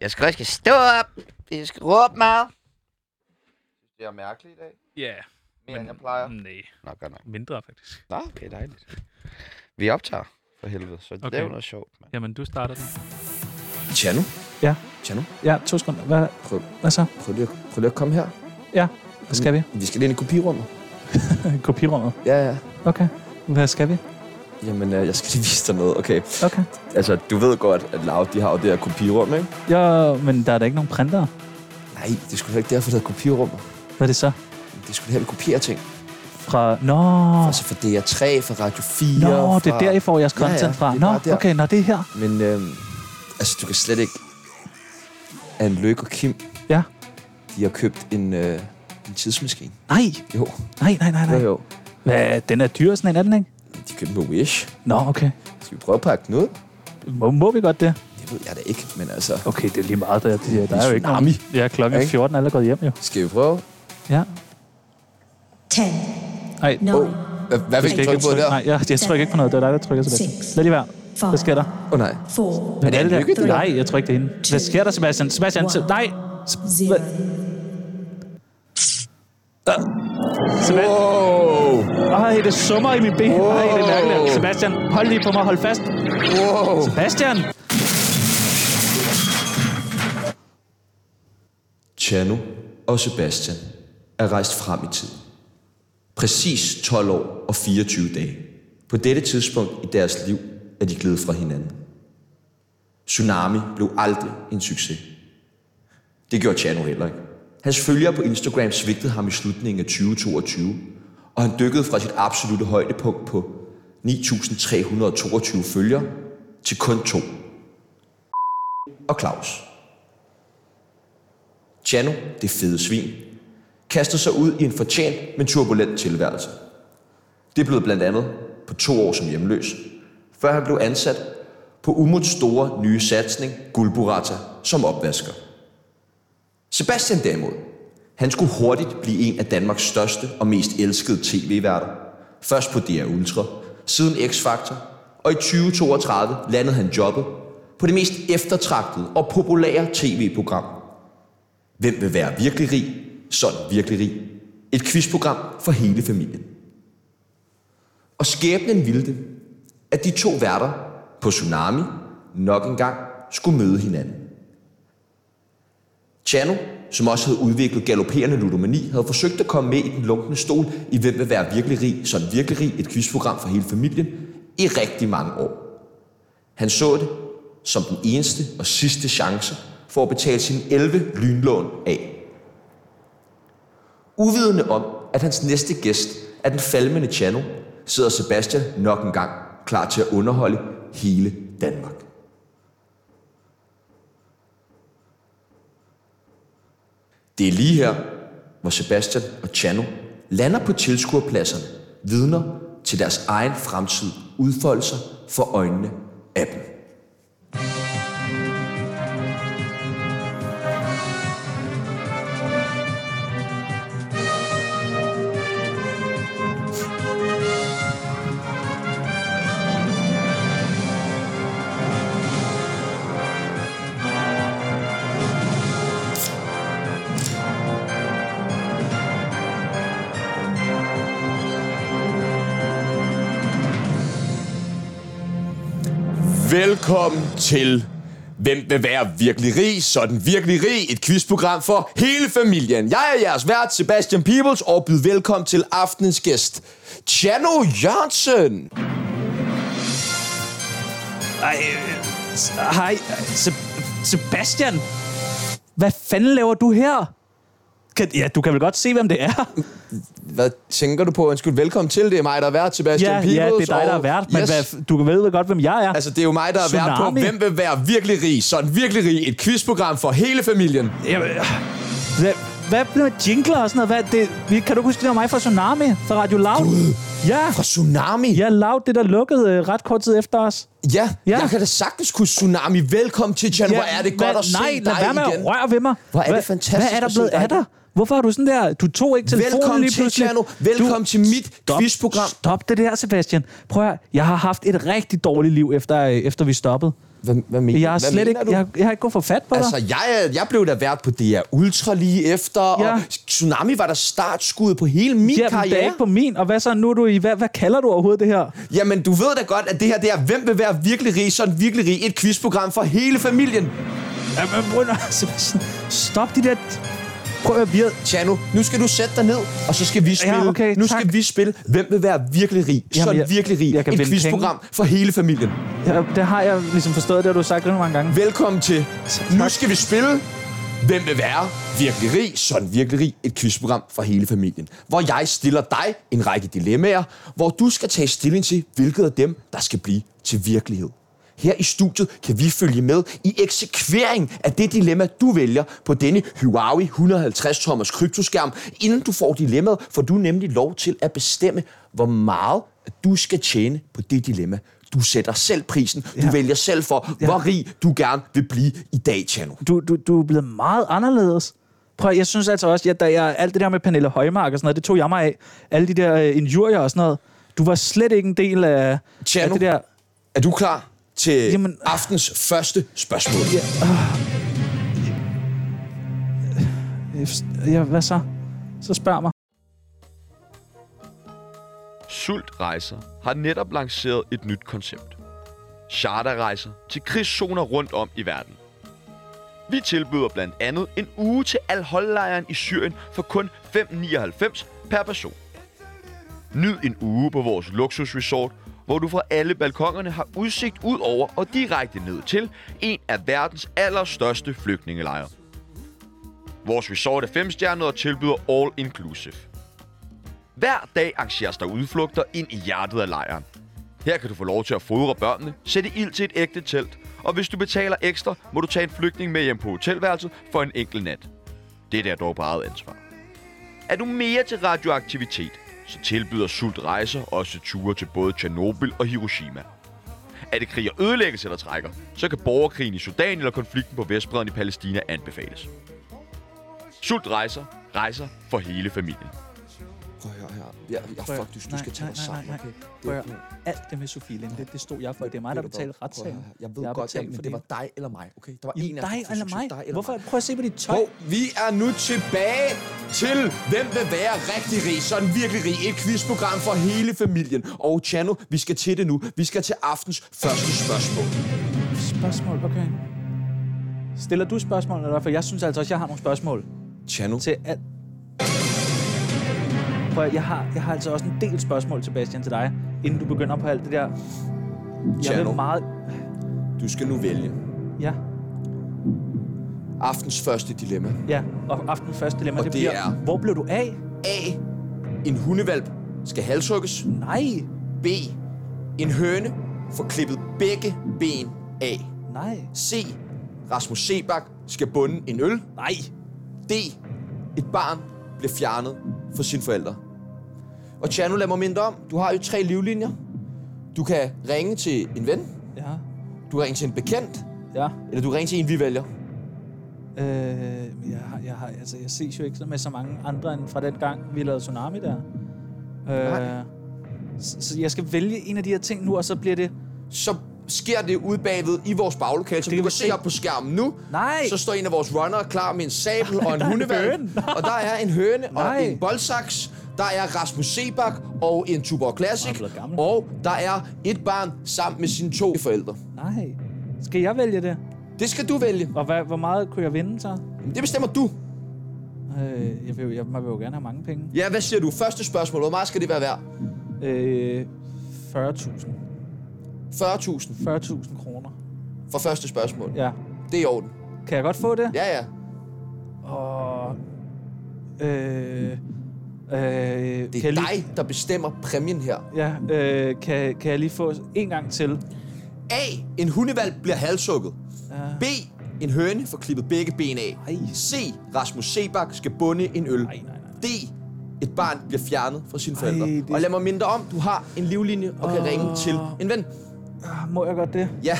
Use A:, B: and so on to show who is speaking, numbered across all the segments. A: Jeg skal også stå op. Jeg skal råbe meget.
B: Det er mærkeligt i dag.
C: Ja. Mm,
B: Mere end jeg plejer.
C: Nej,
A: Nå, godt nok.
C: mindre faktisk.
A: Nå, okay, dejligt. Vi optager for helvede, så okay. det er jo
C: Okay.
A: noget sjovt. Man.
C: Jamen, du starter den.
D: Chano?
E: Ja.
D: Chano,
E: Ja, to sekunder. Hvad,
D: prøv,
E: hvad så?
D: prøv, lige, at- prøv lige at komme her.
E: Ja, hvad skal vi?
D: Vi skal ind i kopirummet.
E: Mm. Kopirummet.
D: Ja, ja.
E: Okay. Hvad skal vi?
D: Jamen, øh, jeg skal lige vise dig noget, okay?
E: Okay.
D: Altså, du ved godt, at Loud, de har jo det her kopirum, ikke?
E: Jo, men der er da ikke nogen printer.
D: Nej, det skulle heller ikke derfor, det hedder kopirum.
E: Hvad er det så?
D: Det skulle heller kopiere ting.
E: Fra... Nå,
D: Altså fra DR3, fra Radio
E: Nå
D: 4. fra...
E: det er der, I får jeres
D: Ja, ja,
E: content fra.
D: det er
E: Nå,
D: bare der.
E: okay, når det er her.
D: Men øhm, altså, du kan slet ikke... Anne Løk og Kim,
E: Ja.
D: de har købt en, øh, en tidsmaskine.
E: Nej,
D: Jo,
E: nej, nej, nej. nej.
D: jo, jo.
E: Hvad, den er dyr, sådan en, er den ikke?
D: De købte den på Wish.
E: Nå, okay.
D: Skal vi prøve at pakke den ud?
E: Må, må vi godt det?
D: Det ved jeg da ikke, men altså...
E: Okay, det er lige meget. Der, der, der er jo ikke
D: Tsunami.
E: nogen... Ja, klokken er
D: Ikke?
E: 14 alle er gået hjem jo.
D: Skal vi prøve?
E: Ja.
F: 10,
E: Nej,
D: Åh,
F: 9,
D: hvad, hvad
E: du skal
D: vil du
E: ikke
D: trykke på der?
E: trykke. Nej, jeg, jeg trykker ikke på noget. Det er dig, der trykker til det.
F: Seks.
E: Lad lige være. Hvad sker der?
F: 4,
D: Åh oh, nej.
F: 4,
E: Men
D: det
E: alle
D: en lykke,
E: der...
D: det der?
E: Nej, jeg tror ikke, det er hende. Hvad sker der, Sebastian? Sebastian, se... nej! Se-
F: 0.
E: hvad- Sebastian,
D: Wow!
E: Ej, det summer i mit ben. Ej, det er mærkeligt. Sebastian, hold lige på mig. Hold fast.
D: Wow!
E: Sebastian!
D: Chano og Sebastian er rejst frem i tiden. Præcis 12 år og 24 dage. På dette tidspunkt i deres liv er de glædet fra hinanden. Tsunami blev aldrig en succes. Det gjorde Chano heller ikke. Hans følgere på Instagram svigtede ham i slutningen af 2022, og han dykkede fra sit absolute højdepunkt på 9.322 følgere til kun to. Og Claus. Chano, det fede svin, kastede sig ud i en fortjent, men turbulent tilværelse. Det blev blandt andet på to år som hjemløs, før han blev ansat på Umuts store nye satsning, Gulburata, som opvasker. Sebastian derimod, han skulle hurtigt blive en af Danmarks største og mest elskede tv-værter. Først på DR Ultra, siden X-Factor, og i 2032 landede han jobbet på det mest eftertragtede og populære tv-program, Hvem vil være virkelig rig? Sådan virkelig rig. Et quizprogram for hele familien. Og skæbnen ville det, at de to værter på Tsunami nok engang skulle møde hinanden. Chano, som også havde udviklet galopperende ludomani, havde forsøgt at komme med i den lunkne stol i Hvem vil være virkelig rig? Sådan virkelig rig, et quizprogram for hele familien, i rigtig mange år. Han så det som den eneste og sidste chance for at betale sine 11 lynlån af. Uvidende om, at hans næste gæst er den falmende Chano, sidder Sebastian nok en gang klar til at underholde hele Danmark. Det er lige her, hvor Sebastian og Chano lander på tilskuerpladserne, vidner til deres egen fremtid udfolde sig for øjnene af dem.
G: Velkommen til Hvem vil være virkelig rig? Sådan virkelig rig. Et quizprogram for hele familien. Jeg er jeres vært, Sebastian Peebles, og byd velkommen til aftenens gæst, Tjano Jørgensen.
E: Ej, øh, s- hej. øh, Se- Sebastian! Hvad fanden laver du her? Kan, ja, du kan vel godt se, hvem det er.
G: Hvad tænker du på? Undskyld, velkommen til. Det er mig, der er vært, Sebastian
E: Ja,
G: Peebles.
E: ja, det er dig, der er
G: og-
E: vært, men
G: Yes.
E: hvad, du ved vel godt, hvem jeg er.
G: Altså, det er jo mig, der er vært på
E: Tsunami.
G: Hvem vil være virkelig rig? Sådan virkelig rig. Et quizprogram for hele familien.
E: Jamen, øh, hvad, hvad blev jingler og sådan noget? Hvad, det, vi- kan du huske, det var mig fra Tsunami? Fra Radio Loud? Gud, ja,
G: Fra Tsunami?
E: ja, Loud, det der lukkede øh, ret kort tid efter os.
G: ja.
E: Ja.
G: Jeg kan da sagtens kunne Tsunami. Velkommen til, Tjano. Hvor er det godt
E: hvad,
G: at se
E: nej,
G: dig
E: lad være med
G: igen.
E: at røre ved mig.
G: Hvor er det
E: Hvad-
G: fantastisk
E: Hvad er der
G: at se
E: blevet
G: dig
E: af dig? Hvorfor har du sådan der... Du tog ikke telefonen
G: Velkommen
E: lige
G: til,
E: pludselig.
G: Tjerno. Velkommen til mit
E: stop,
G: quizprogram.
E: Stop det der, Sebastian. Prøv at, høre, jeg har haft et rigtig dårligt liv, efter, øh, efter vi stoppede.
D: Hvad, hvad, mener,
E: Jeg, er
D: hvad
E: slet ikke,
D: mener du?
E: jeg, jeg har ikke gået for fat på
D: Altså,
E: dig.
D: jeg, jeg blev da vært på DR Ultra lige efter, ja.
E: Ja.
D: og Tsunami var der startskuddet på hele
E: Ja,
D: min
E: men det
D: karriere.
E: er ikke på min, og hvad så nu er du i? Hvad, hvad kalder du overhovedet det her?
D: Jamen, du ved da godt, at det her, det er Hvem vil være virkelig rig? Sådan virkelig rig. Et quizprogram for hele familien.
E: Jamen, prøv nu, Sebastian. altså, Stop de der... Prøv at høre, vi har...
D: Tjano, nu skal du sætte dig ned, og så skal vi spille.
E: okay,
D: nu
E: tak.
D: skal vi spille Hvem vil være virkelig rig?
E: Jamen,
D: Sådan
E: jeg-
D: virkelig rig.
E: jeg kan
D: Et
E: vinde
D: quizprogram for hele familien.
E: Ja, det har jeg ligesom forstået, det har du sagt rigtig mange gange.
D: Velkommen til. Nu skal vi spille Hvem vil være virkelig rig? Sådan virkelig rig. Et quizprogram for hele familien. Hvor jeg stiller dig en række dilemmaer, hvor du skal tage stilling til, hvilket af dem, der skal blive til virkelighed. Her i studiet kan vi følge med i eksekvering af det dilemma, du vælger på denne Huawei 150 tommers kryptoskærm, inden du får dilemmaet, får du nemlig lov til at bestemme, hvor meget du skal tjene på det dilemma. Du sætter selv prisen, du ja.
E: Ja.
D: vælger selv for, hvor rig du gerne vil blive i dag, Tjano.
E: Du, du, du er blevet meget anderledes. Prøv, at- jeg synes altså også, at da jeg, alt det der med Pernille Højmark og sådan noget, det tog jeg mig af. Alle de der øh, injurier og sådan noget. Du var slet ikke en del af, af
D: Tjerno.
E: det der...
D: Er du klar til Jamen,
E: Jamen-
D: aftens første spørgsmål? Ja.
E: Ja, hvad så? Så spørg mig.
A: Sult Rejser har netop lanceret et nyt koncept. Charterrejser til krigszoner rundt om i verden. Vi tilbyder blandt andet en uge til Al-Hol-lejren i Syrien for kun 5,99 per person. Nyd en uge på vores luksusresort, hvor du fra alle balkongerne har udsigt ud over og direkte ned til en af verdens allerstørste flygtningelejre. Vores resort er 5 stjerner og tilbyder all inclusive. Hver dag arrangeres der udflugter ind i hjertet af lejren. Her kan du få lov til at fodre børnene, sætte ild til et ægte telt, og hvis du betaler ekstra, må du tage en flygtning med hjem på hotelværelset for en enkelt nat. Det er dog på eget ansvar. Er du mere til radioaktivitet, så tilbyder Sult Rejser også ture til både Tjernobyl og Hiroshima. Er det krig og ødelæggelse, der trækker, så kan borgerkrigen i Sudan eller konflikten på Vestbredden i Palæstina anbefales. Sult Rejser rejser for hele familien.
D: Prøv at høre her. Ja, ja, fuck, du, du skal tage dig sammen. okay? Det
E: Prøv
D: er
E: at høre. Alt det med Sofie Linde, det, det stod jeg for. Det er mig, der
D: Ved du
E: betalte
D: hvad? Prøv at
E: retssagen.
D: høre her. Jeg ved
E: har
D: godt,
E: betalt
D: jeg, men
E: for
D: det
E: det.
D: var dig eller mig, okay? Der var
E: Jamen,
D: en af os,
E: dig
D: der
E: eller
D: synes,
E: mig?
D: dig eller
E: Hvorfor?
D: mig.
E: Prøv at se på dit tøj.
D: Og vi er nu tilbage til Hvem vil være rigtig rig? Sådan virkelig rig. Et quizprogram for hele familien. Og Chano, vi skal til det nu. Vi skal til aftens første spørgsmål.
E: Spørgsmål, okay. Stiller du spørgsmål, eller hvad? For jeg synes altså også, jeg har nogle spørgsmål
D: Chano,
E: til alt. Prøv, at- jeg har, jeg har altså også en del spørgsmål, Sebastian, til dig, inden du begynder på alt det der. Jeg
D: Tjerno.
E: vil meget...
D: du skal nu vælge.
E: Ja,
D: Aftens første dilemma.
E: ja. Og aften første dilemma,
D: Og
E: det,
D: det
E: bliver...
D: er-
E: Hvor blev du af?
D: A. En hundevalp skal halshugges.
E: Nej,
D: B. En høne får klippet begge ben af.
E: nej,
D: C. Rasmus Sebak skal bunde en øl.
E: nej.
D: D. Et barn bliver fjernet fra sine forældre. Og Tjerno, lad mig minde dig om, du har jo tre livlinjer. Du kan ringe til en ven,
E: Ja,
D: du kan ringe til en bekendt,
E: ja.
D: eller du kan ringe til en, vi vælger.
E: Øh, men jeg, har, jeg, har, altså, jeg ses jo ikke med så mange andre end fra den gang, vi lavede Tsunami der.
D: Nej.
E: Øh, så, så jeg skal vælge en af de her ting nu, og så bliver det...
D: Så sker det ude bagved i vores baglokale, som
E: Det
D: du
E: kan
D: kan
E: vi
D: se
E: se.
D: op på skærmen nu.
E: Nej!
D: Så står en af vores runnere klar med en sabel og en
E: der er en
D: hundevalg.
E: høne.
D: og der er en høne og
E: Nej.
D: en boldsaks. Der er Rasmus Sebak og en Tuborg
E: Han
D: Classic.
E: er blevet gammel.
D: Og der er et barn sammen med sine to forældre.
E: Nej. Skal jeg vælge det?
D: Det skal du vælge.
E: Og hvad, hvor meget kunne jeg vinde så?
D: Men Det bestemmer du.
E: Øh, jeg, vil, jo- jeg, jeg vil jo gerne have mange penge.
D: Ja, hvad siger du? Første spørgsmål. Hvor meget skal det være værd?
E: Øh, 40.000.
D: 40.000
E: 40.000 kroner.
D: for første spørgsmål.
E: Ja.
D: Det er i orden.
E: Kan jeg godt få det?
D: Ja, ja.
E: Og... Øh, øh, det
D: Det er dig, der bestemmer præmien her.
E: Ja, øh, kan, kan jeg lige få en gang til?
D: A. En hundevalg bliver halshugget.
E: Ja.
D: B. En høne får klippet begge ben af.
E: Ej.
D: C. Rasmus Sebak skal bunde en øl.
E: nej, nej, nej.
D: D. Et barn bliver fjernet fra sine forældre.
E: det-
D: Og lad mig minde dig om, du har en livlinje og kan ringe til en ven.
E: Ah, Må jeg godt det?
D: Ja,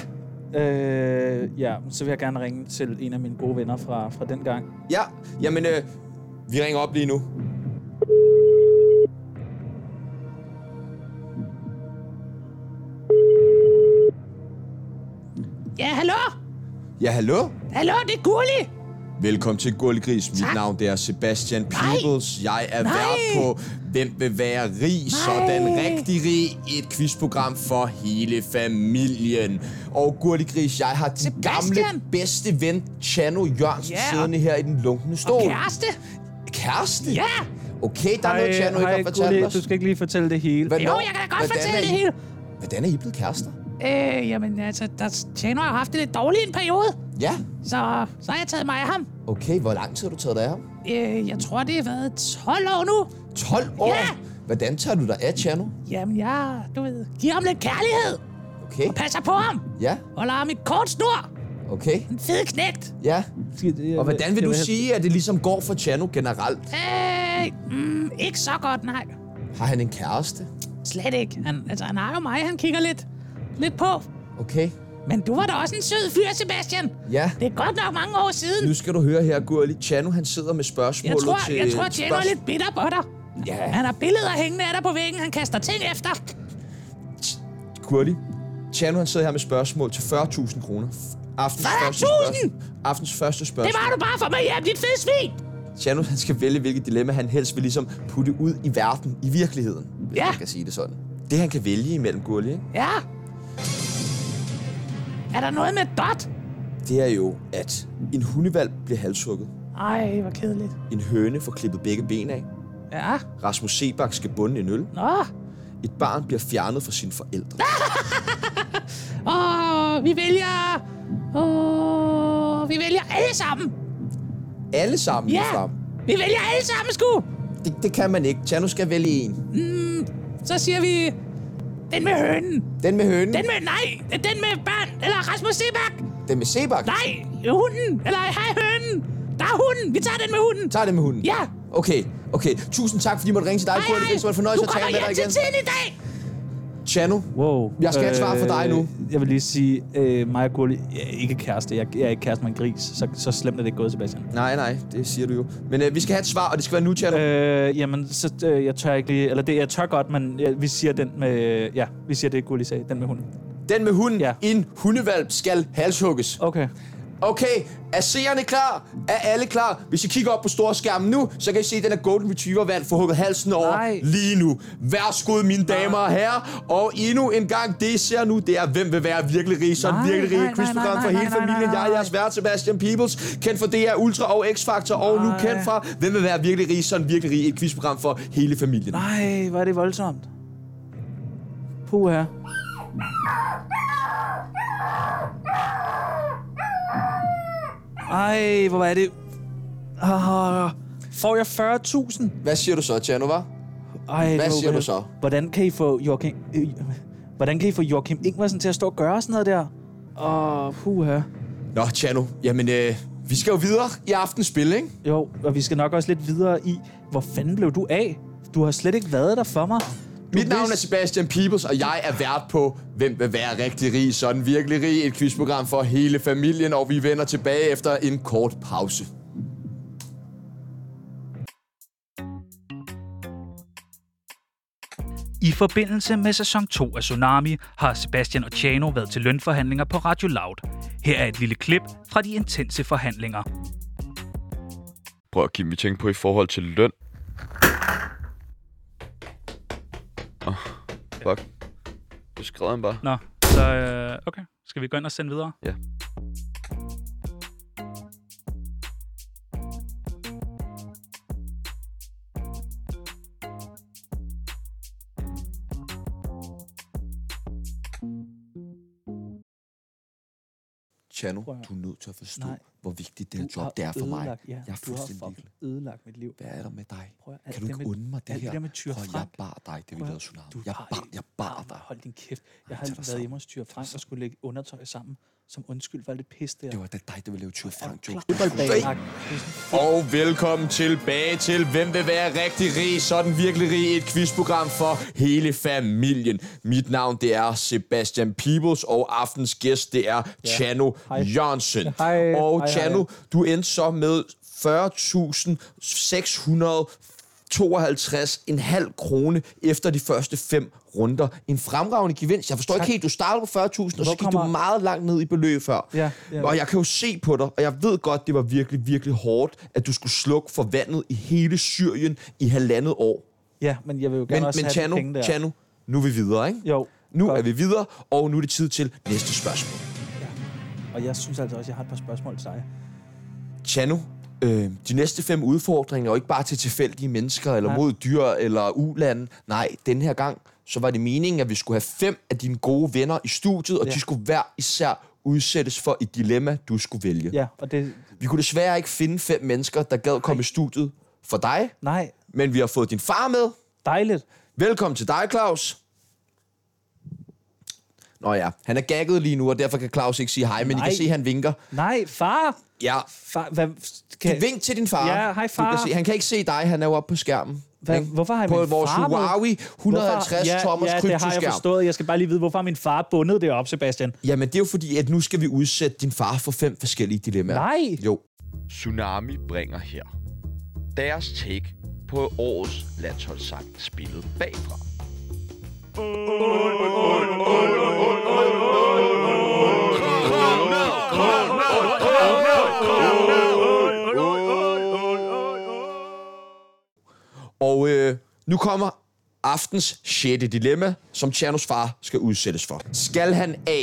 E: Øh, ja, så vil jeg gerne ringe til en af mine gode venner fra, fra den gang.
D: ja. Jamen, øh, vi ringer op lige nu.
H: Ja, hallo?
D: Ja, hallo?
H: Hallo, det er Gurli.
D: Velkommen til Gullegris. Mit
H: Tak.
D: navn det er Sebastian Peebles. Jeg er vært på Hvem vil være rig? Sådan rigtig rig. Et quizprogram for hele familien. Og Gullegris, jeg har din
H: Sebastian.
D: gamle bedste ven, Chano Jørgensen,
H: Ja.
D: siddende her i den lunkende stol.
H: Og kæreste.
D: Kæreste?
H: Ja.
D: Okay, der er noget, Chano ikke har fortalt
E: Gulli,
D: os.
E: du skal ikke lige fortælle det hele.
D: Hvornår-
H: Jo, jeg kan da godt
D: hvordan
H: fortælle
D: er
H: det
D: I-
H: hele.
D: Hvordan er I blevet kærester?
H: Øh, jamen altså, der tjener jeg har haft det lidt dårligt i en periode.
D: Ja.
H: Så, så har jeg taget mig af ham.
D: Okay, hvor lang tid har du taget dig af ham?
H: Øh, jeg tror, det har været 12 år nu.
D: 12 år?
H: Ja.
D: Hvordan tager du dig af, Chano?
H: Jamen, jeg, du ved, giver ham lidt kærlighed.
D: Okay.
H: Passer på ham.
D: Ja,
H: Holder ham i kort snor.
D: okay.
H: En fed knægt.
D: Ja.
E: Skal-
D: Og hvordan vil
E: jeg
D: du sige, at det ligesom går for Chano generelt?
H: Øh, mm, ikke så godt, nej.
D: Har han en kæreste?
H: Slet ikke. Han, altså, han har jo mig, han kigger lidt, lidt på.
D: Okay.
H: Men du var da også en sød fyr, Sebastian.
D: Ja.
H: Det er godt nok mange år siden.
D: Nu skal du høre her, Gurli. Chano, han sidder med spørgsmålet
H: Jeg tror,
D: til...
H: jeg tror, Tjeno er
D: spørgsmål-
H: lidt bitter på dig.
D: Ja.
H: Han har billeder hængende af dig på væggen, han kaster ting efter.
D: Gurli. Chano, han sidder her med spørgsmål til 40.000 kroner. Aftens første
H: 40.000?
D: spørgsmål. Aftens første
H: Det
D: spørgsmål.
H: var du bare for mig hjem, dit fede svin!
D: Chano, han skal vælge, hvilket dilemma han helst vil ligesom putte ud i verden, i virkeligheden. Hvis
H: Ja.
D: man kan sige det sådan. Det, han kan vælge imellem, Gurli, ikke?
H: Ja. Er der noget med et dot?
D: det er jo, at en hundevalp bliver halshugget.
H: Ej, hvor kedeligt.
D: En høne får klippet begge ben af.
H: Ja.
D: Rasmus Sebak skal bunde en øl.
H: Nå.
D: Et barn bliver fjernet fra sine forældre.
H: Og vi vælger... Åh, vi vælger alle sammen.
D: Alle sammen
H: Ja.
D: ligefrem.
H: Vi vælger alle sammen, sgu.
D: Det, det kan man ikke. Chano skal vælge en.
H: Så siger vi... Den med hønen.
D: Den med hønen.
H: Den med... Nej! Den med børn. Eller Rasmus Sebak.
D: Den med sebak.
H: Nej! Hunden. Eller hej hønen. Der er hunden. Vi tager den med hunden.
D: Tag den med hunden.
H: Ja.
D: Okay, okay. Tusind tak, fordi I måtte ringe til dig, Kurt. Det var en fornøjelse
H: du
D: at tale
H: kommer
D: med dig
H: hjem
D: igen.
H: til tiden i dag.
D: Chano,
E: Wow.
D: Jeg skal have et svar fra dig nu.
E: Jeg vil lige sige, øh, mig og Gulli, jeg er ikke kæreste. Jeg, jeg er ikke kæreste med en gris. Så, så slemt er det ikke gået, Sebastian.
D: Nej, nej, det siger du jo. Men øh, vi skal have et svar, og det skal være nu, Chano. Øh.
E: Øh, jamen, så, øh, jeg tør ikke lige... Eller det, jeg tør godt, men ja, vi siger den med... Ja, vi siger det, Gulli sagde. Den med hunden.
D: Den med hunden.
E: Ja.
D: En hundevalp skal halshugges.
E: Okay.
D: Okay, er seerne klar? Er alle klar? Hvis I kigger op på storskærmen nu, så kan I se, at den her Golden Retriever valg får hugget halsen over
E: Nej.
D: lige nu. Værsgod, mine damer og herrer. Og endnu en gang, det I ser nu, det er, hvem vil være virkelig rig. Sådan
E: Nej,
D: virkelig
E: nej,
D: rig
E: nej,
D: quizprogram
E: nej,
D: for
E: nej,
D: hele
E: nej, nej,
D: familien.
E: nej.
D: Jeg er jeres vært, Sebastian Peebles, kendt for DR Ultra og X-Factor, og nu
E: Nej.
D: kendt fra, hvem vil være virkelig rig. Sådan virkelig rig, et quizprogram for hele familien.
E: Nej, hvor er det voldsomt. Puh her. Ej, hvor er det... Ah, får jeg 40.000?
D: Hvad siger du så, Tjanova?
E: Ej, det var
D: siger du
E: ubehageligt.
D: så?
E: Hvordan kan I få Joachim... Øh, hvordan kan I få Joachim Ingvarsen til at stå og gøre sådan noget der? Åh, oh, puha.
D: Nå, Tjano, jamen øh, vi skal jo videre i aftens spil, ikke?
E: Jo, og vi skal nok også lidt videre i, hvor fanden blev du af? Du har slet ikke været der for mig. Du
D: Mit navn er
E: vidste-
D: Sebastian Peebles, og jeg er vært på Hvem vil være rigtig rig? Sådan virkelig rig. Et quizprogram for hele familien, og vi vender tilbage efter en kort pause.
F: I forbindelse med sæson 2 af Tsunami har Sebastian og Tjano været til lønforhandlinger på Radio Loud. Her er et lille klip fra de intense forhandlinger.
A: Prøv at give mig tænke på i forhold til løn. Åh, oh, fuck. Du skrev han bare.
F: Nå, så øh, okay. Skal vi gå ind og sende videre?
A: Ja.
D: Chano, du er nødt til at forstå,
E: Nej.
D: hvor vigtigt det her
E: har
D: job det er for mig.
E: ødelagt- Ja,
D: jeg er
E: du har
D: fuldstændig
E: fucking
D: ligeglad.
E: ødelagt mit liv.
D: Hvad er der med dig?
E: Prøv at- alt
D: kan du
E: det
D: ikke
E: med-
D: undre mig det
E: alt
D: her?
E: det der med Tyre
D: Prøv, jeg
E: Frank.
D: bar dig, det vi
E: Prøv at-
D: lavede tsunami.
E: Du
D: Jeg
E: har
D: bar,
E: ikke-
D: jeg bar dig.
E: Hold din kæft. Jeg
D: Tag
E: har
D: dig
E: været
D: sammen.
E: hjemme hos Tyre Frank og skulle lægge undertøj sammen, som undskyld for alt det pis der.
D: Det var da dig, der ville lave Tyre Frank jokes.
E: Fodboldbane.
D: Og velkommen tilbage til Hvem vil være rigtig rig? Sådan virkelig rig. Et quizprogram for hele familien. Mit navn det er Sebastian Peebles, og aftens gæst det er Chano
E: Hej.
D: Jørgensen.
E: Hej.
D: Og
E: Hej,
D: Chano, du endte så med 40.600 52,5 krone efter de første fem runder. En fremragende gevinst. Jeg forstår tak. ikke helt, du startede på 40.000, og så gik
E: kommer-
D: du meget langt ned i beløb før.
E: Ja, ja.
D: Og jeg kan jo se på dig, og jeg ved godt, det var virkelig, virkelig hårdt, at du skulle slukke for vandet i hele Syrien i halvandet år.
E: Ja, men jeg vil jo gerne
D: Men,
E: også
D: men
E: have de penge
D: Chano,
E: der.
D: Chano, nu er vi videre, ikke?
E: Jo,
D: Nu
E: godt.
D: er vi videre, og nu er det tid til næste spørgsmål.
E: Og jeg synes altså også, jeg har et par spørgsmål til dig.
D: Chano, øh, de næste fem udfordringer er jo ikke bare til tilfældige mennesker, eller
E: Nej.
D: mod dyr, eller ulande. Nej, den her gang, så var det meningen, at vi skulle have fem af dine gode venner i studiet, og
E: Ja.
D: de skulle hver især udsættes for et dilemma, du skulle vælge.
E: Ja, og det...
D: Vi kunne desværre ikke finde fem mennesker, der gad komme i studiet for dig,
E: Nej,
D: men vi har fået din far med.
E: dejligt.
D: Velkommen til dig, Claus. Nå ja, han er gagget lige nu, og derfor kan Claus ikke sige hej, men I
E: Nej.
D: kan se, at han vinker.
E: Nej, far!
D: Ja,
E: far hvad, kan,
D: vink til din far.
E: Ja, hej, far.
D: Du kan se, han kan ikke se dig, han er jo oppe på skærmen.
E: Hvad-
D: Ikke?
E: hvorfor har jeg
D: På
E: min
D: vores
E: far med?
D: Huawei 150
E: Hvorfor-
D: tommers
E: ja, det har jeg
D: kryptoskærm.
E: forstået. Jeg skal bare lige vide, hvorfor har min far bundet det op, Sebastian.
D: Jamen, det er jo fordi, at nu skal vi udsætte din far for fem forskellige dilemmaer.
E: Nej.
D: Jo.
A: Tsunami bringer her deres take på årets landsholdssang spillet bagfra.
D: Og øh, nu kommer aftens sjette dilemma, som Tjernos far skal udsættes for. Skal han A.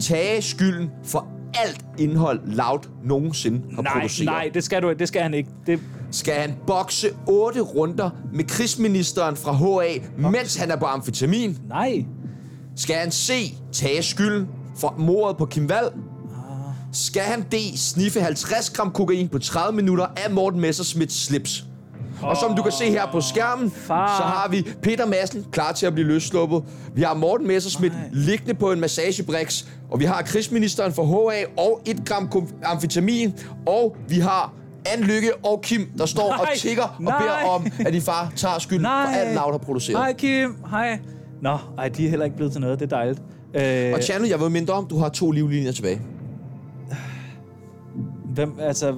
D: Tage skylden for alt indhold Loud nogensinde har
E: Nej,
D: produceret?
E: nej, det skal, du, det skal han ikke. Det,
D: Skal han bokse otte runder med krigsministeren fra HA, mens han er på amfetamin?
E: nej,
D: Skal han C. Tage skylden for mordet på Kim Wall? Skal han D. Sniffe 50 gram kokain på 30 minutter af Morten Messersmiths slips? Og som du kan se her på skærmen,
E: far.
D: så har vi Peter Madsen klar til at blive løsluppet. Vi har Morten Messersmith liggende på en massagebriks. Og vi har krigsministeren for HA og 1 gram kom- amfetamin. Og vi har Anne Lykke og Kim, der står og
E: Nej,
D: tigger og
E: nej.
D: beder om, at din far tager skylden
E: nej.
D: for alt Loud har produceret.
E: Hej, Kim. Hej. Nå, ej, de er heller ikke blevet til noget. Det er dejligt. Øh,
D: Og Chano, jeg ved mindre om, du har to livlinjer tilbage.
E: hvem, altså, øh,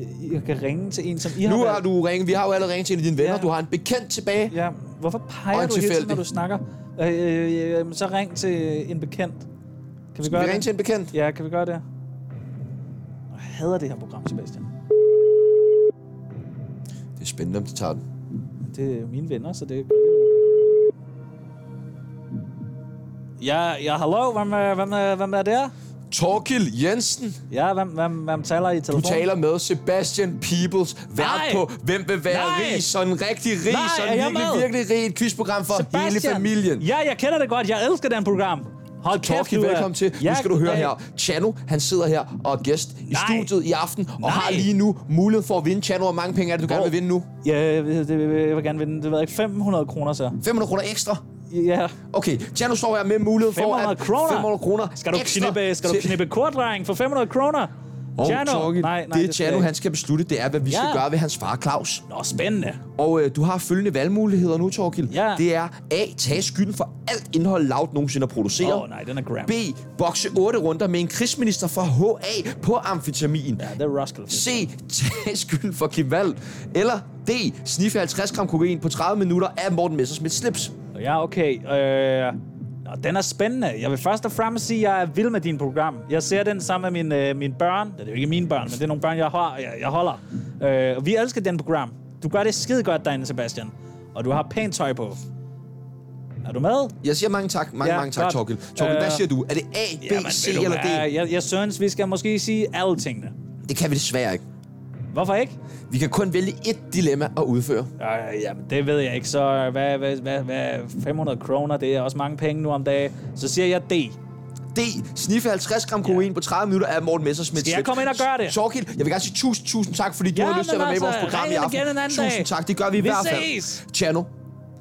E: jeg, jeg kan ringe til en, som I har
D: Nu har
E: valgt.
D: du ringet, vi har jo allerede ringet til en af dine venner,
E: Ja. Mm,
D: ja. du har en bekendt tilbage. Ja.
E: Ja, hvorfor peger
D: Og
E: du
D: en
E: hele tiden,
D: tilfældig.
E: når du snakker? Øh, øh, øh, øh, så ring til en bekendt. Kan vi
D: Vi
E: gøre
D: ringer
E: det?
D: til en bekendt.
E: Ja, kan vi gøre det? Jeg hader det her program, Sebastian.
D: Det er spændende, om de tager den.
E: Det er mine venner, så det Ja, ja, hallo, hvem, øh, hvem, øh, hvem er der?
D: Torkil Jensen,
E: Ja, hvem, hvem, hvem taler i
D: du
E: telefonen?
D: taler med Sebastian Peoples, vært
E: Nej.
D: på Hvem vil være
E: Nej.
D: rig, sådan rigtig rig,
E: Nej, er
D: sådan
E: jeg
D: virkelig,
E: med?
D: virkelig rig, et quizprogram for hele
E: Sebastian!
D: familien.
E: Ja, jeg kender det godt, jeg elsker den program. Hold kæft,
D: Torkil,
E: du er-
D: velkommen til.
E: Ja,
D: nu skal du høre
E: goddag.
D: her. Chano, han sidder her og er gæst i
E: Nej.
D: studiet i aften, og
E: Nej.
D: har lige nu mulighed for at vinde. Chano, hvor mange penge er det, du gerne vil vinde nu?
E: Ja, jeg vil- det- jeg vil gerne vinde, det ved jeg ikke, 500 kroner så.
D: 500 kroner ekstra?
E: Ja.
D: Okay, Tjerno står her med mulighed for
E: 500
D: at
E: kroner?
D: 500 kroner
E: Skal du
D: ekstra
E: knippe, skal du
D: til-
E: knippe kort, dreng, for 500 kroner?
D: Og
E: Tjerno?
D: Torkel,
E: Nej, nej,
D: det
E: det skal
D: Tjerno,
E: jeg
D: han skal beslutte, det er, hvad vi
E: Ja.
D: skal gøre ved hans far, Claus.
E: Nå, spændende.
D: Og øh, du har følgende valgmuligheder nu, Torkil.
E: Ja.
D: Det er A. Tag skylden for alt indhold Loud nogensinde har produceret.
E: Åh, nej, den er gram.
D: B. Bokse 8 runder med en krigsminister fra HA på amfetamin.
E: Ja, det er Roskilde.
D: C. Tag skylden for Kim Wall. Eller D. Sniffe 50 gram kokain på 30 minutter af Morten Messersmith slips.
E: Ja, okay. Øh, nå, den er spændende. Jeg vil først og fremmest sige, at jeg er vild med din program. Jeg ser den sammen med mine, øh, mine børn. Det er jo ikke mine børn, men det er nogle børn, jeg, har, jeg, jeg holder. Øh, og vi elsker den program. Du gør det skide godt derinde, Sebastian. Og du har pænt tøj på. Er du med?
D: Jeg siger mange tak, mange,
E: Ja,
D: ja, mange tak,
E: godt.
D: Torkil. Torkil, hvad
E: Øh,
D: siger du? Er det A, B, C
E: ved du
D: eller D?
E: hvad, Jeg, jeg synes, vi skal måske sige alle tingene.
D: Det kan vi desværre ikke.
E: Hvorfor ikke?
D: Vi kan kun vælge et dilemma at udføre.
E: Øh, jamen, det ved jeg ikke. Så øh, hvad, hvad, hvad, hvad, 500 kroner, det er også mange penge nu om dagen. Så siger jeg D.
D: D. Sniffe 50 gram kokain ja. på 30 minutter af Morten Messersmith.
E: Skal jeg komme ind og gøre det?
D: Torkild, jeg vil gerne sige tusind, tusind tak, fordi du
E: Ja,
D: har lyst til at
E: men
D: være med i vores
E: altså,
D: program i
E: ring
D: aften.
E: igen en anden
D: tusind
E: dag.
D: tak, det gør vi i
E: Vi
D: hvert fald.
E: ses!
D: Tjerno,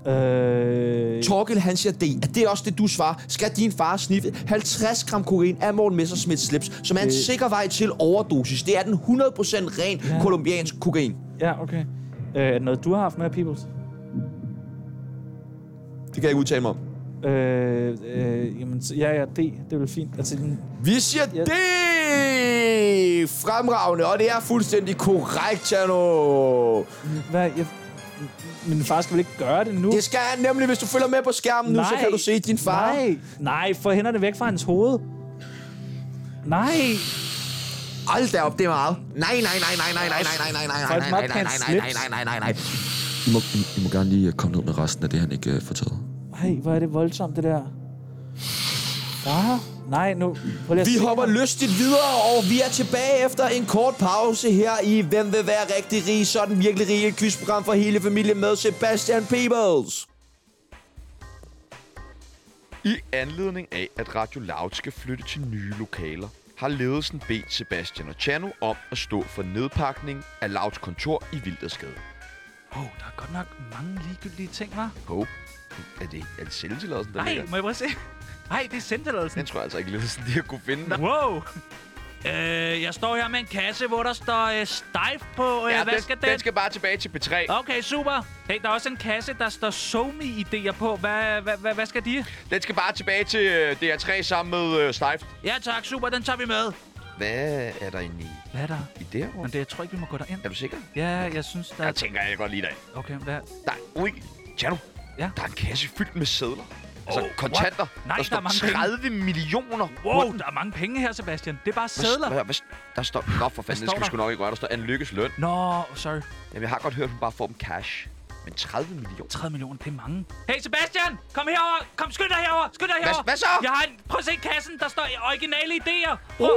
E: Øh,
D: Torkild han siger D. Er det også det, du svarer? Skal din far sniffe 50 gram kokain af Morten Messersmiths slips, som er en sikker vej til overdosis? Det er den 100% ren ja. kolumbiansk kokain.
E: Ja, okay. Øh, er det noget, du har haft med, Peoples?
D: Det kan jeg ikke udtale mig om.
E: Øh, øh, jamen, så- ja, ja, D. Det er vel fint. Altså, mm,
D: Vi siger
E: Ja.
D: det fremragende, og det er fuldstændig korrekt, Tjerno.
E: hvad, jeg, min far skal vel ikke gøre det nu?
D: Det skal han nemlig, hvis du følger med på skærmen nu, så kan du se din far.
E: Nej, nej, få hænderne væk fra hans hoved. Nej,
D: Hold da op, det er meget. Nej, nej, nej, nej, nej, nej, nej, nej, nej, nej,
E: Folk
D: nej,
E: måtte have
D: nej, nej, nej,
E: en
D: nej,
E: slips.
D: nej, nej, nej, nej.
I: I må, I, I må gerne lige øh, komme ned med resten af det, han ikke øh, får taget.
E: nej, hvor er det voldsomt, det der. Ah, nej, nu... Prøv lige at
D: Vi
E: se
D: hopper
E: ham.
D: lystigt videre, og vi er tilbage efter en kort pause her i Hvem vil være rigtig rig? Sådan virkelig rig et quizprogram for hele familien med Sebastian Peebles.
A: I anledning af, at Radio Loud skal flytte til nye lokaler, har ledelsen bedt Sebastian og Chano om at stå for nedpakning af Louds kontor i Vildersgade.
F: Åh, oh, der er godt nok mange ligegyldige ting, var.
A: Hov, er det, er det selvtilladelsen, der
F: Nej,
A: ligger?
F: må jeg prøve at se? Nej, det er sendtilladelsen.
A: Den tror jeg altså ikke, ledelsen lige har kunne finde.
F: Wow! Øh, jeg står her med en kasse, hvor der står øh, stejf på. Øh, ja, hvad
A: den,
F: skal den?
A: den skal bare tilbage til B3.
F: Okay, super. Hey, der er også en kasse, der står somi-idéer på. Hvad, hvad, hvad, hvad skal de?
A: Den skal bare tilbage til øh, DR3 sammen med øh, Stift.
F: Ja tak, super. Den tager vi med.
A: Hvad er der inde i,
F: Hvad er der?
A: i det her rum?
F: Men det, jeg tror ikke, vi må gå derind.
A: Er du sikker?
F: Ja, jeg synes, der
A: Jeg
F: er...
A: tænker, jeg godt lige dig.
F: Okay, hvad?
A: Der er, ui, Chano,
F: Ja.
A: der er en kasse fyldt med sædler. Altså
F: Oh,
A: kontanter.
F: what? Nej,
A: der
F: der
A: står
F: er mange penge.
A: 30 millioner.
F: Wow, der er mange penge her, Sebastian. Det er bare
A: Hvad-
F: sædler.
A: Hvad, hvad, der står... Nå, for fanden, det
F: står
A: skal vi
F: der?
A: sgu nok ikke røre. Der står Anne Lykkes løn.
F: Nå, sorry.
A: Jamen, jeg har godt hørt, at hun bare får dem cash. Men 30 millioner?
F: 30 millioner, det er mange. Hey Sebastian, kom herover. Kom, skynd dig herover. Skynd dig herover.
A: hvad så?
F: Jeg har en... Prøv at se kassen, der står originale idéer.
A: Åh,
F: Prøv,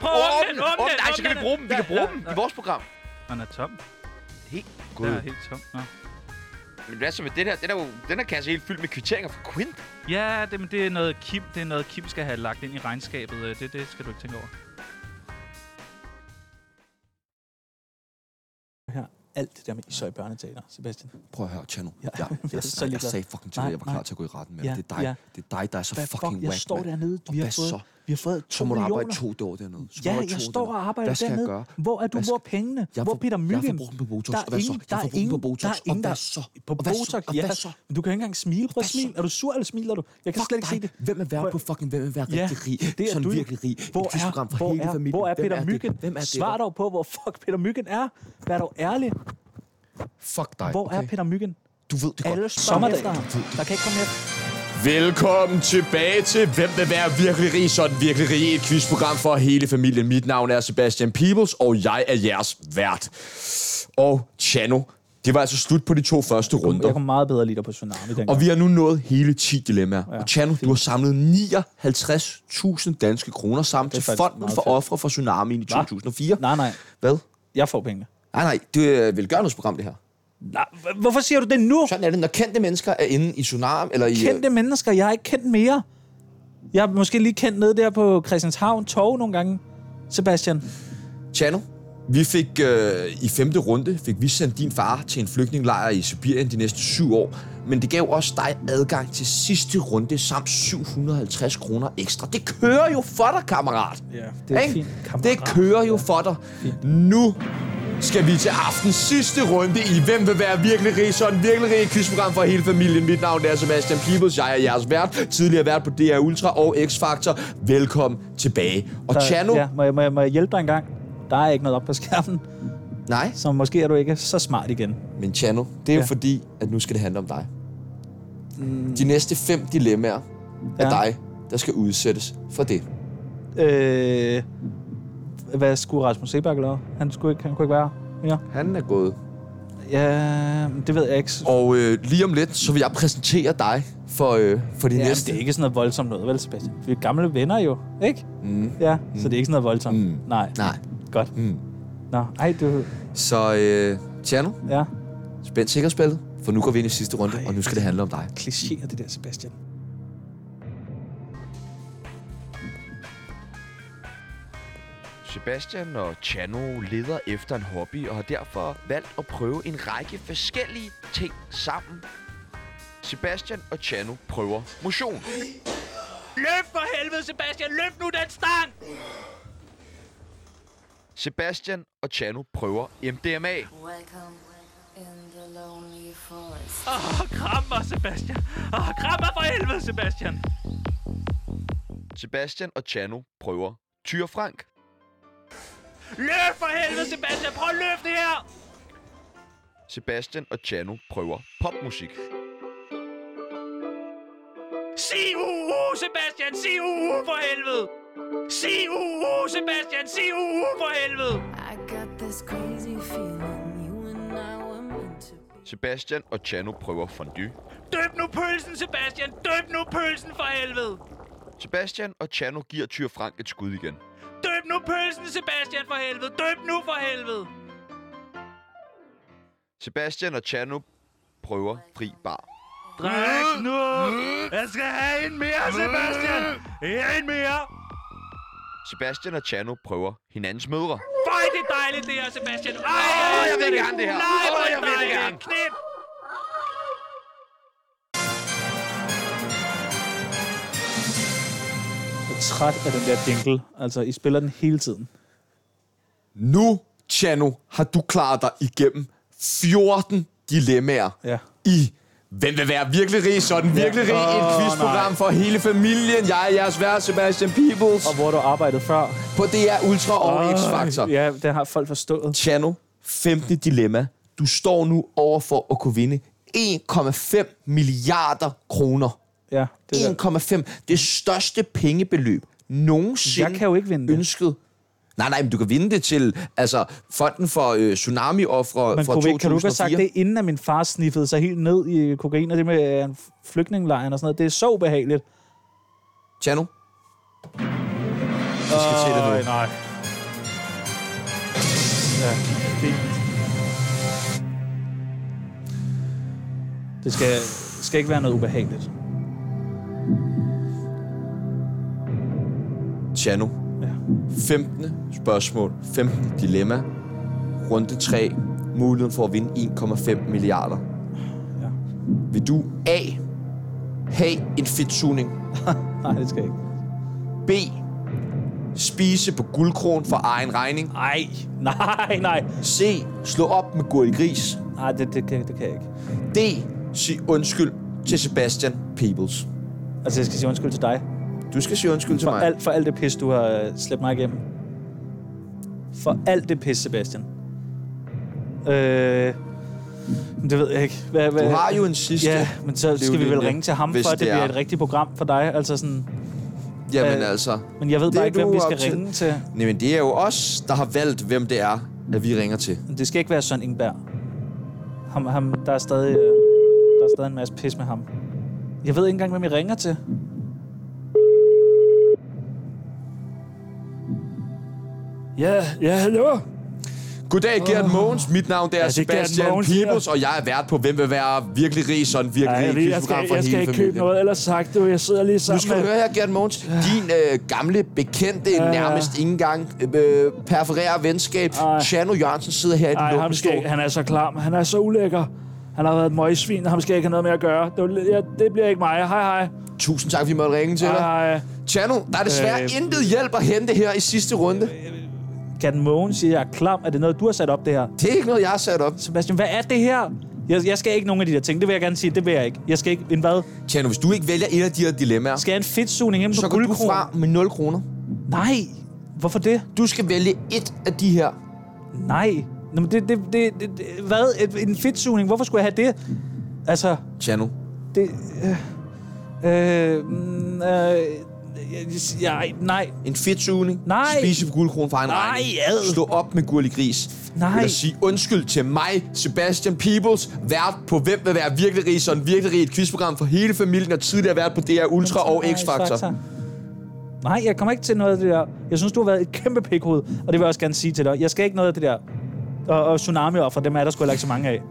F: prøv at åbne
A: åbn-
F: den, åbne
A: åbn-
F: den,
A: Nej, så
F: åbne
A: kan vi
F: den.
A: bruge dem. Vi
F: Ja,
A: kan bruge
F: ja,
A: dem
F: ja.
A: i vores program.
F: Den er tom.
A: Helt
F: Den
A: god.
F: er helt tom. Nå.
A: Men hvad så med den her? Den er jo den her kasse helt fyldt med kvitteringer fra Quint.
F: Ja, det, men det er noget Kim, det er noget Kim skal have lagt ind i regnskabet. Øh, Det, det skal du ikke tænke over.
E: Her. Alt det der med, I så i børneteater, Sebastian.
I: Prøv at høre, Tjerno.
E: Ja,
I: Jeg, jeg,
E: jeg er
I: jeg,
E: så
I: sagde- jeg
E: ligeglad.
I: sagde fucking til dig,
E: Nej,
I: jeg var klar
E: nej.
I: til at gå i retten med
E: Ja,
I: dig. Det er dig,
E: ja.
I: det er dig, der er så
E: Hvad
I: fucking
E: fuck, jeg
I: whack,
E: står
I: mand.
E: dernede.
I: Og
E: Vi har
I: hvad så?
E: fået, vi har fået 2
I: Så må du
E: millioner.
I: arbejde to dage dernede. Så må
E: Ja,
I: du arbejde
E: jeg
I: to
E: står
I: dernede.
E: og arbejder
I: Hvad skal jeg
E: dernede.
I: gøre?
E: Hvor er du?
I: Hvad
E: Hvor
I: skal-
E: er pengene?
I: Jeg
E: Hvor
I: får-
E: er Peter Myggen?
I: Jeg får brugt dem på Botox.
E: Der
I: Og hvad så?
E: ingen-
I: Jeg
E: der
I: får
E: er
I: brugt dem på
E: ingen-
I: Botox.
E: Der er
I: Og
E: ingen,
I: hvad
E: der...
I: så?
E: På
I: Og hvad så?
E: Botox,
I: Og
E: ja.
I: hvad så?
E: Men du kan ikke engang smile. Prøv at
I: Hvad så?
E: smile. Er du sur, eller smiler du? Jeg kan
I: Fuck
E: slet ikke se
I: dig.
E: det.
I: Hvem er værd
E: Prøv-
I: på fucking, hvem er værd rigtig rig?
E: det er
I: Sådan
E: du jo.
I: virkelig rig. Et
E: Hvor er,
I: quizprogram for
E: hvor
I: hele
E: er,
I: familien.
E: Hvor er
I: Hvem
E: Peter
I: det?
E: Myggen?
I: Hvem er det?
E: Svar dog på, hvor fuck Peter Myggen er. Vær dog ærlig.
I: Fuck dig.
E: Hvor er
I: okay?
E: Peter Myggen?
I: Du ved det godt.
E: Alle
I: Sommer-
E: spørger efter ham. Der kan ikke komme efter.
D: Velkommen tilbage til Hvem vil være virkelig rig? Sådan virkelig rig. Et quizprogram for hele familien. Mit navn er Sebastian Peebles, og jeg er jeres vært. Og Chano, det var altså slut på de to første runder.
E: Jeg kom meget bedre lige der på Tsunami dengang.
D: Og vi har nu nået hele 10 dilemmaer. Ja,
E: Ja,
D: og Chano, du har samlet 59.000 danske kroner sammen til
E: faktisk
D: Fonden
E: meget
D: for
E: fedt.
D: Ofre for Tsunamien i 2004.
E: Nej, nej.
D: Hvad? Ah,
E: Jeg får pengene.
D: Nej, nej, det er velgørenhedsprogram, det her.
E: Nej, h- hvorfor siger du det nu?
D: Sådan er det, når kendte mennesker er inde i tsunami, eller i...
E: Kendte mennesker. Jeg har ikke kendt mere. Jeg har måske lige kendt nede der på Christianshavn Torv nogle gange. Sebastian.
D: Chano, vi fik øh, i femte runde, fik vi sendt din far til en flygtningelejr i Sibirien de næste syv år, men det gav også dig adgang til sidste runde samt 750 kroner ekstra. Det kører jo for dig, kammerat.
E: Ja, det er
D: Ikke?
E: fint, kammerat.
D: Det kører jo for dig. Nu skal vi til aftens sidste runde i Hvem vil være virkelig rig? Sådan virkelig rig quizprogram for hele familien. Mit navn er Sebastian Peebles. Jeg er jeres vært. Tidligere vært på DR Ultra og X-Factor. Velkommen tilbage. Og
E: Der-
D: Chano...
E: Ja, må jeg, må, jeg, må jeg hjælpe dig en gang? Der er ikke noget op på skærmen,
D: Nej?
E: så måske er du ikke så smart igen.
D: Men Chano, det er ja. jo
E: Ja.
D: fordi, at nu skal det handle om dig. Mm. De næste fem dilemmaer ja. er
E: Ja.
D: dig, der skal udsættes for det.
E: Øh, hvad skulle Rasmus Sebak lave? Han, skulle ikke, han kunne ikke være mere.
D: Han er gået.
E: Ja, det ved jeg ikke.
D: Og øh, lige om lidt, så vil jeg præsentere dig for, øh, for de
E: Ja, men
D: næste.
E: det er ikke sådan noget voldsomt noget, vel Sebastian? Vi er gamle venner jo, ikke? Mm. Ja, så det er ikke sådan noget voldsomt. Mm. Nej.
D: Nej.
E: Godt. Mm. Nå, ej, du...
D: Så øh, Tjerno,
E: Ja,
D: spænd sikkerhedsbæltet, for nu går vi ind i sidste runde, Ej. og nu skal det handle om dig.
E: klichéer det der, Sebastian.
A: Sebastian og Chano leder efter en hobby og har derfor valgt at prøve en række forskellige ting sammen. Sebastian og Chano prøver motion.
F: Løft for helvede, Sebastian! Løft nu den stang!
A: Sebastian og Chano prøver MDMA.
J: Welcome in the lonely forest.
F: Åh, oh, kram mig, Sebastian! Åh, oh, kram mig for helvede, Sebastian!
A: Sebastian og Chano prøver Tyr Frank.
F: Løft for helvede, Sebastian! Prøv at løfte her!
A: Sebastian og Chano prøver popmusik.
F: Sig uhu, Sebastian! Sig uhu for helvede! Sig uhu, Sebastian! Sig uhu for helvede!
J: I got this crazy feeling you and I were meant to be.
A: Sebastian og Chano prøver fondue.
F: Døb nu pølsen, Sebastian! Døb nu pølsen for helvede!
A: Sebastian og Chano giver Tyr Frank et skud igen.
F: Døb nu pølsen, Sebastian for helvede! Døb nu for helvede!
A: Sebastian og Chano prøver fri bar.
F: Drik nu! Jeg skal have en mere, Sebastian! En mere!
A: Sebastian og Chano prøver hinandens mødre.
F: Hvor er det dejligt, det her, Sebastian! Ej,
A: Åh, jeg vil
F: elsker
A: gerne det her.
F: Nej,
A: Åh,
F: hvor
A: jeg
F: er det
A: vil
F: dejligt!
A: gerne.
F: Knip!
E: Jeg er træt af den der jingle. Altså, I spiller den hele tiden.
D: Nu, Chano, har du klaret dig igennem 14 dilemmaer
E: Ja.
D: i Hvem vil være virkelig rig? Sådan virkelig rig.
E: Åh,
D: Et quizprogram for hele familien. Jeg er jeres vært, Sebastian Peebles.
E: Og hvor du arbejdede før.
D: På DR Ultra og X-Factor.
E: Ja, det har folk forstået.
D: Chano, 15. dilemma. Du står nu over for at kunne vinde 1,5 milliarder kroner.
E: Ja, det er
D: 1,5. Det største pengebeløb nogensinde
E: Jeg kan jo ikke vinde det.
D: ønsket. Nej, nej, men du kan vinde det til altså, Fonden for øh, Tsunami-offre
E: Men
D: fra
E: kunne, vi-
D: 2004.
E: kan du ikke have sagt det, inden at min far sniffede sig helt ned i kokain, og det med øh, flygtningelejren og sådan noget? Det er så ubehageligt.
D: Chano? Vi skal til det nu.
E: nej. Ja, fint. Det skal, skal ikke være noget ubehageligt.
D: Chano.
E: Ja.
D: 15. spørgsmål. 15. dilemma. Runde 3. Muligheden for at vinde 1,5 milliarder.
E: Ja.
D: Vil du A. Have en fedtsugning.
E: Nej, det skal ikke.
D: B. Spise på guldkron for egen regning.
E: Ej, nej, nej.
D: C. Slå op med Gurli Gris.
E: Nej, det, det, kan, det kan jeg ikke.
D: D. Sig undskyld til Sebastian Peebles.
E: Altså, jeg skal sige undskyld til dig.
D: Du skal sige undskyld til
E: For
D: mig.
E: alt, for alt det pis, du har øh, slæbt mig igennem. For alt det pis, Sebastian. Øh, det ved jeg ikke. Hvad, hvad,
D: Du har jo en sidste.
E: Ja, men så skal vi vel
D: livlinje,
E: ringe til ham,
D: hvis
E: for at det
D: det
E: bliver
D: er.
E: et rigtigt program for dig. Altså sådan,
D: Jamen
E: øh,
D: altså.
E: men jeg ved
D: Det
E: bare
D: er
E: ikke, hvem
D: du
E: vi skal
D: op til.
E: ringe til.
D: Nej, men det er jo os, der har valgt, hvem det er, at vi ringer til.
E: Men Det skal ikke være Søren Ingberg. Ham, ham, der, er stadig, øh, der er stadig en masse pis med ham. Jeg ved ikke engang, hvem jeg ringer til. Ja, ja, hallo.
D: Goddag, Gert Mogens. Mit navn det er
E: Ja,
D: ja,
E: det er Gert
D: Sebastian
E: Mogens, ja.
D: Peebles, og jeg er vært på Hvem vil være virkelig rig, sådan virkelig
E: Ej,
D: rig
E: jeg, ved, jeg, skal,
D: quizprogram for
E: jeg skal
D: hele
E: ikke
D: familien.
E: købe noget, ellers sagt du, jeg sidder lige
D: Nu
E: sammen
D: skal du høre
E: med...
D: her, Gert Mogens. Din øh, gamle, bekendte,
E: ja.
D: nærmest ikke engang øh, perforere venskab,
E: Ej.
D: Chano Jørgensen, sidder her i den
E: Nej, ham
D: lukkede
E: skal ikke.
D: stol.
E: Han er så klam. Han er så ulækker. Han har været et møgsvin, og ham skal jeg ikke have noget med at gøre. Det, var- ja, det bliver ikke mig. Hej, hej.
D: Tusind tak, vi måtte ringe til dig.
E: Hej, hej.
D: Chano, der er desværre
E: Øh.
D: intet hjælp at hente her i sidste runde.
E: Kat Mogen siger, jeg er klam. Er det noget, du har sat op, det her?
D: Det er ikke noget, jeg har sat op.
E: Sebastian, hvad er det her? Jeg, jeg skal ikke nogen af de der ting. Det vil jeg gerne sige. Det vil jeg ikke. Jeg skal ikke... En hvad?
D: Chano, hvis du ikke vælger et af de her dilemmaer,
E: Skal jeg en fedtsugning hjemme
D: så
E: på
D: går du
E: guldkron?
D: fra med 0 kroner.
E: Nej. Hvorfor det?
D: Du skal vælge et af de her.
E: Nej. Nå, men det, det, det, det, det, hvad? Et- En fedtsugning? Hvorfor skulle jeg have det? Altså,
D: Chano,
E: det... Øh, øh, mm, øh, jeg- jeg, nej,
D: en fedtsugning,
E: Nej.
D: spise på guldkron for egen
E: Nej,
D: regning,
E: ad.
D: slå op med gurlig gris,
E: Nej.
D: eller sige undskyld til mig, Sebastian Peebles, vært på Hvem vil være virkelig rig, sådan virkelig rig, et quizprogram for hele familien, og tidligere vært på DR Ultra og
E: Nej,
D: X-Factor.
E: Nej, jeg kommer ikke til noget af det der. Jeg synes, du har været et kæmpe pikhoved, og det vil jeg også gerne sige til dig. Jeg skal ikke noget af det der. Og, og tsunami for dem er der sgu heller ikke så mange af.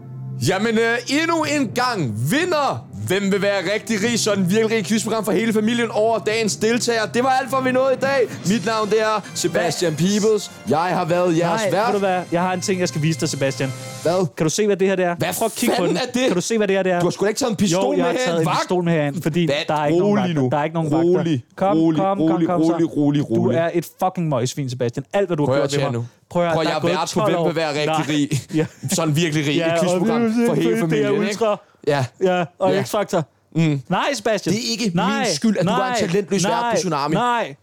D: Jamen, øh, endnu en gang vinder Hvem vil være rigtig rig, sådan virkelig rig quizprogram for hele familien over dagens deltager. Det var alt, for vi nåede i dag. Mit navn det er Sebastian Peebles. Jeg har været jeres
E: Nej, ved
D: vært.
E: du hvad? Jeg har en ting, jeg skal vise dig, Sebastian.
D: Hvad?
E: Kan du se, hvad det her det er?
D: Hvad
E: Prøv at kigge på
D: fanden
E: den.
D: er det?
E: Kan du se, hvad det her det er?
D: Du har sgu da ikke taget en pistol
E: jo, jeg har
D: med
E: taget en
D: vagt?
E: pistol med herhen, fordi
D: Vagt,
E: der er ikke nogen
D: rolig
E: vagter.
D: nu.
E: Der er ikke nogen
D: Rolig,
E: vagter. Kom,
D: rolig,
E: kom, kom,
D: rolig,
E: kom, så.
D: rolig, rolig, rolig.
E: Du er et fucking møgsvin, Sebastian. Alt, hvad du har
D: Prøv
E: gjort
D: at
E: ved
D: høre
E: mig.
D: nu.
E: Prøv at
D: Prøv
E: høre,
D: at
E: der
D: jeg
E: er
D: er
E: gået
D: vært på,
E: 12
D: hvem
E: år.
D: vil være rigtig
E: Nej.
D: rig.
E: Ja.
D: Sådan virkelig rig.
E: Ja,
D: et
E: og
D: quizprogram
E: det er-
D: for hele
E: det er
D: familien.
E: Ultra.
D: Ikke? Ja.
E: Ja, og
D: Ja.
E: ja. X-Factor. Mm. Nej, Sebastian.
D: Det er ikke min skyld, at du
E: nej,
D: var en talentløs vært på
E: nej,
D: Tsunami.
E: Nej,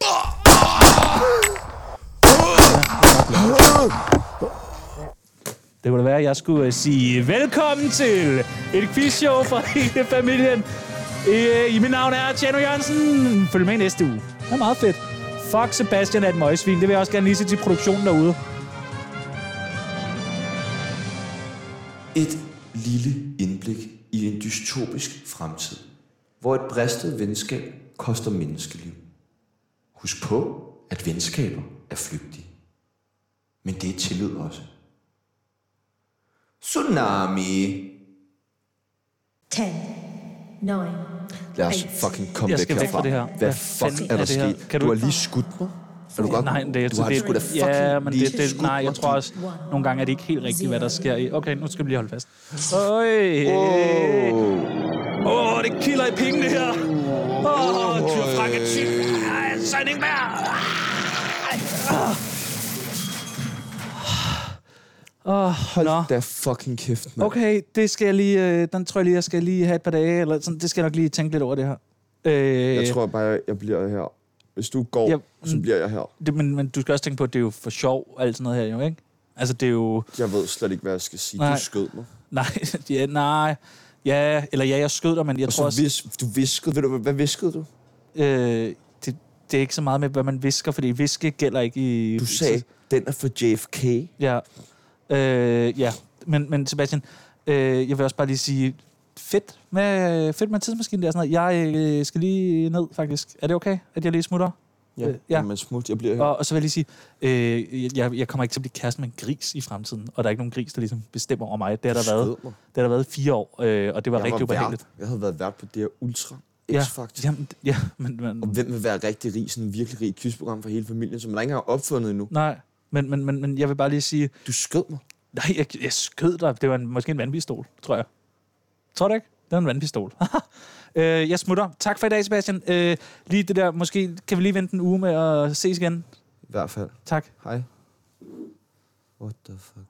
E: Det Det kunne da være, at jeg skulle øh, sige velkommen til et quizshow for hele familien. Øh, I mit navn er Tjerno Jørgensen. Følg med i næste uge. Det er meget fedt. Fuck Sebastian er et møgsvin. Det vil jeg også gerne lige sige til produktionen derude.
I: Et lille indblik i en dystopisk fremtid, hvor et bristet venskab koster menneskeliv. Husk på, at venskaber er flygtige. Men det er tillid også. Tsunami!
K: 10, 9,
D: Lad os fucking komme
E: Jeg
D: væk
E: skal væk
D: herfra.
E: fra det her.
D: Hvad
E: Hvad
D: fuck
E: fanden
D: er
E: er
D: der
E: det her?
D: sket?
E: Kan
D: Kan
E: du
D: du, har
E: ikke-
D: lige skudt mig. Er du godt?
E: Nej, det, jeg
D: du
E: tror,
D: har
E: det,
D: sgu da fucking
E: ja, men
D: lige
E: det, det,
D: skudt
E: nej,
D: mig,
E: jeg tror
D: du-
E: også, nogle gange er det ikke helt rigtigt, hvad der sker i. Okay, nu skal vi lige holde fast. Øj. Åh, oh, det kilder i pengene her. Åh, oh, Tyr Frank
D: øh.
E: er tyk. Ej, Søren Ingberg. Åh, oh, nå.
D: Hold da fucking kæft, mand.
E: Okay, det skal jeg lige, øh, den tror jeg lige, jeg skal lige have et par dage, eller sådan, det skal jeg nok lige tænke lidt over det her. Øh,
D: Jeg tror bare, jeg- jeg bliver her. Hvis du går,
E: Ja,
D: så
E: mm.
D: bliver jeg her.
E: det, men, men du skal også tænke på, at det er jo for sjov, alt sådan noget her, jo, ikke? Altså, det er jo...
D: Jeg ved slet ikke, hvad jeg skal sige.
E: Nej.
D: Du skød mig.
E: Nej, ja, nej. Ja, eller ja, jeg skød dig, men jeg
D: Og
E: tror
D: så
E: også,
D: vis, du viskede. Ved du, hvad viskede du?
E: øh, det, det er ikke så meget med, hvad man visker, fordi viske gælder ikke i...
D: Du sagde, den er for JFK.
E: Ja, øh, ja. Men, men Sebastian, øh, jeg vil også bare lige sige, fedt med, fedt med tidsmaskinen der og sådan noget. Jeg øh, skal lige ned, faktisk. Er det okay, at jeg lige smutter?
D: Ja,
E: Øh, ja.
D: ja. men smut, jeg bliver her.
E: Og, og så vil jeg lige sige, øh, jeg, jeg kommer ikke til at blive kæresten med en gris i fremtiden, og der er ikke nogen gris, der ligesom bestemmer over mig. Det har der
D: Skød
E: været,
D: mig.
E: det har der været i fire år, øh, og det var
D: Jeg
E: rigtig
D: var vært.
E: ubehageligt.
D: Jeg havde været vært på det her Ultra
E: Ja,
D: X-Factor.
E: jamen, ja, men, men,
D: Og hvem vil være rigtig rig, sådan en virkelig rig quizprogram for hele familien, som man ikke engang har opfundet endnu?
E: nej, men, men, men, men jeg vil bare lige sige,
D: Du skød mig.
E: nej, jeg, jeg skød dig. Det var en, måske en vandpistol, tror jeg. Tror du ikke? Det var en vandpistol. øh, jeg smutter. Tak for i dag, Sebastian. Øh, lige det der, måske kan vi lige vente en uge med at ses igen.
D: I hvert fald.
E: Tak.
D: Hej. What the fuck?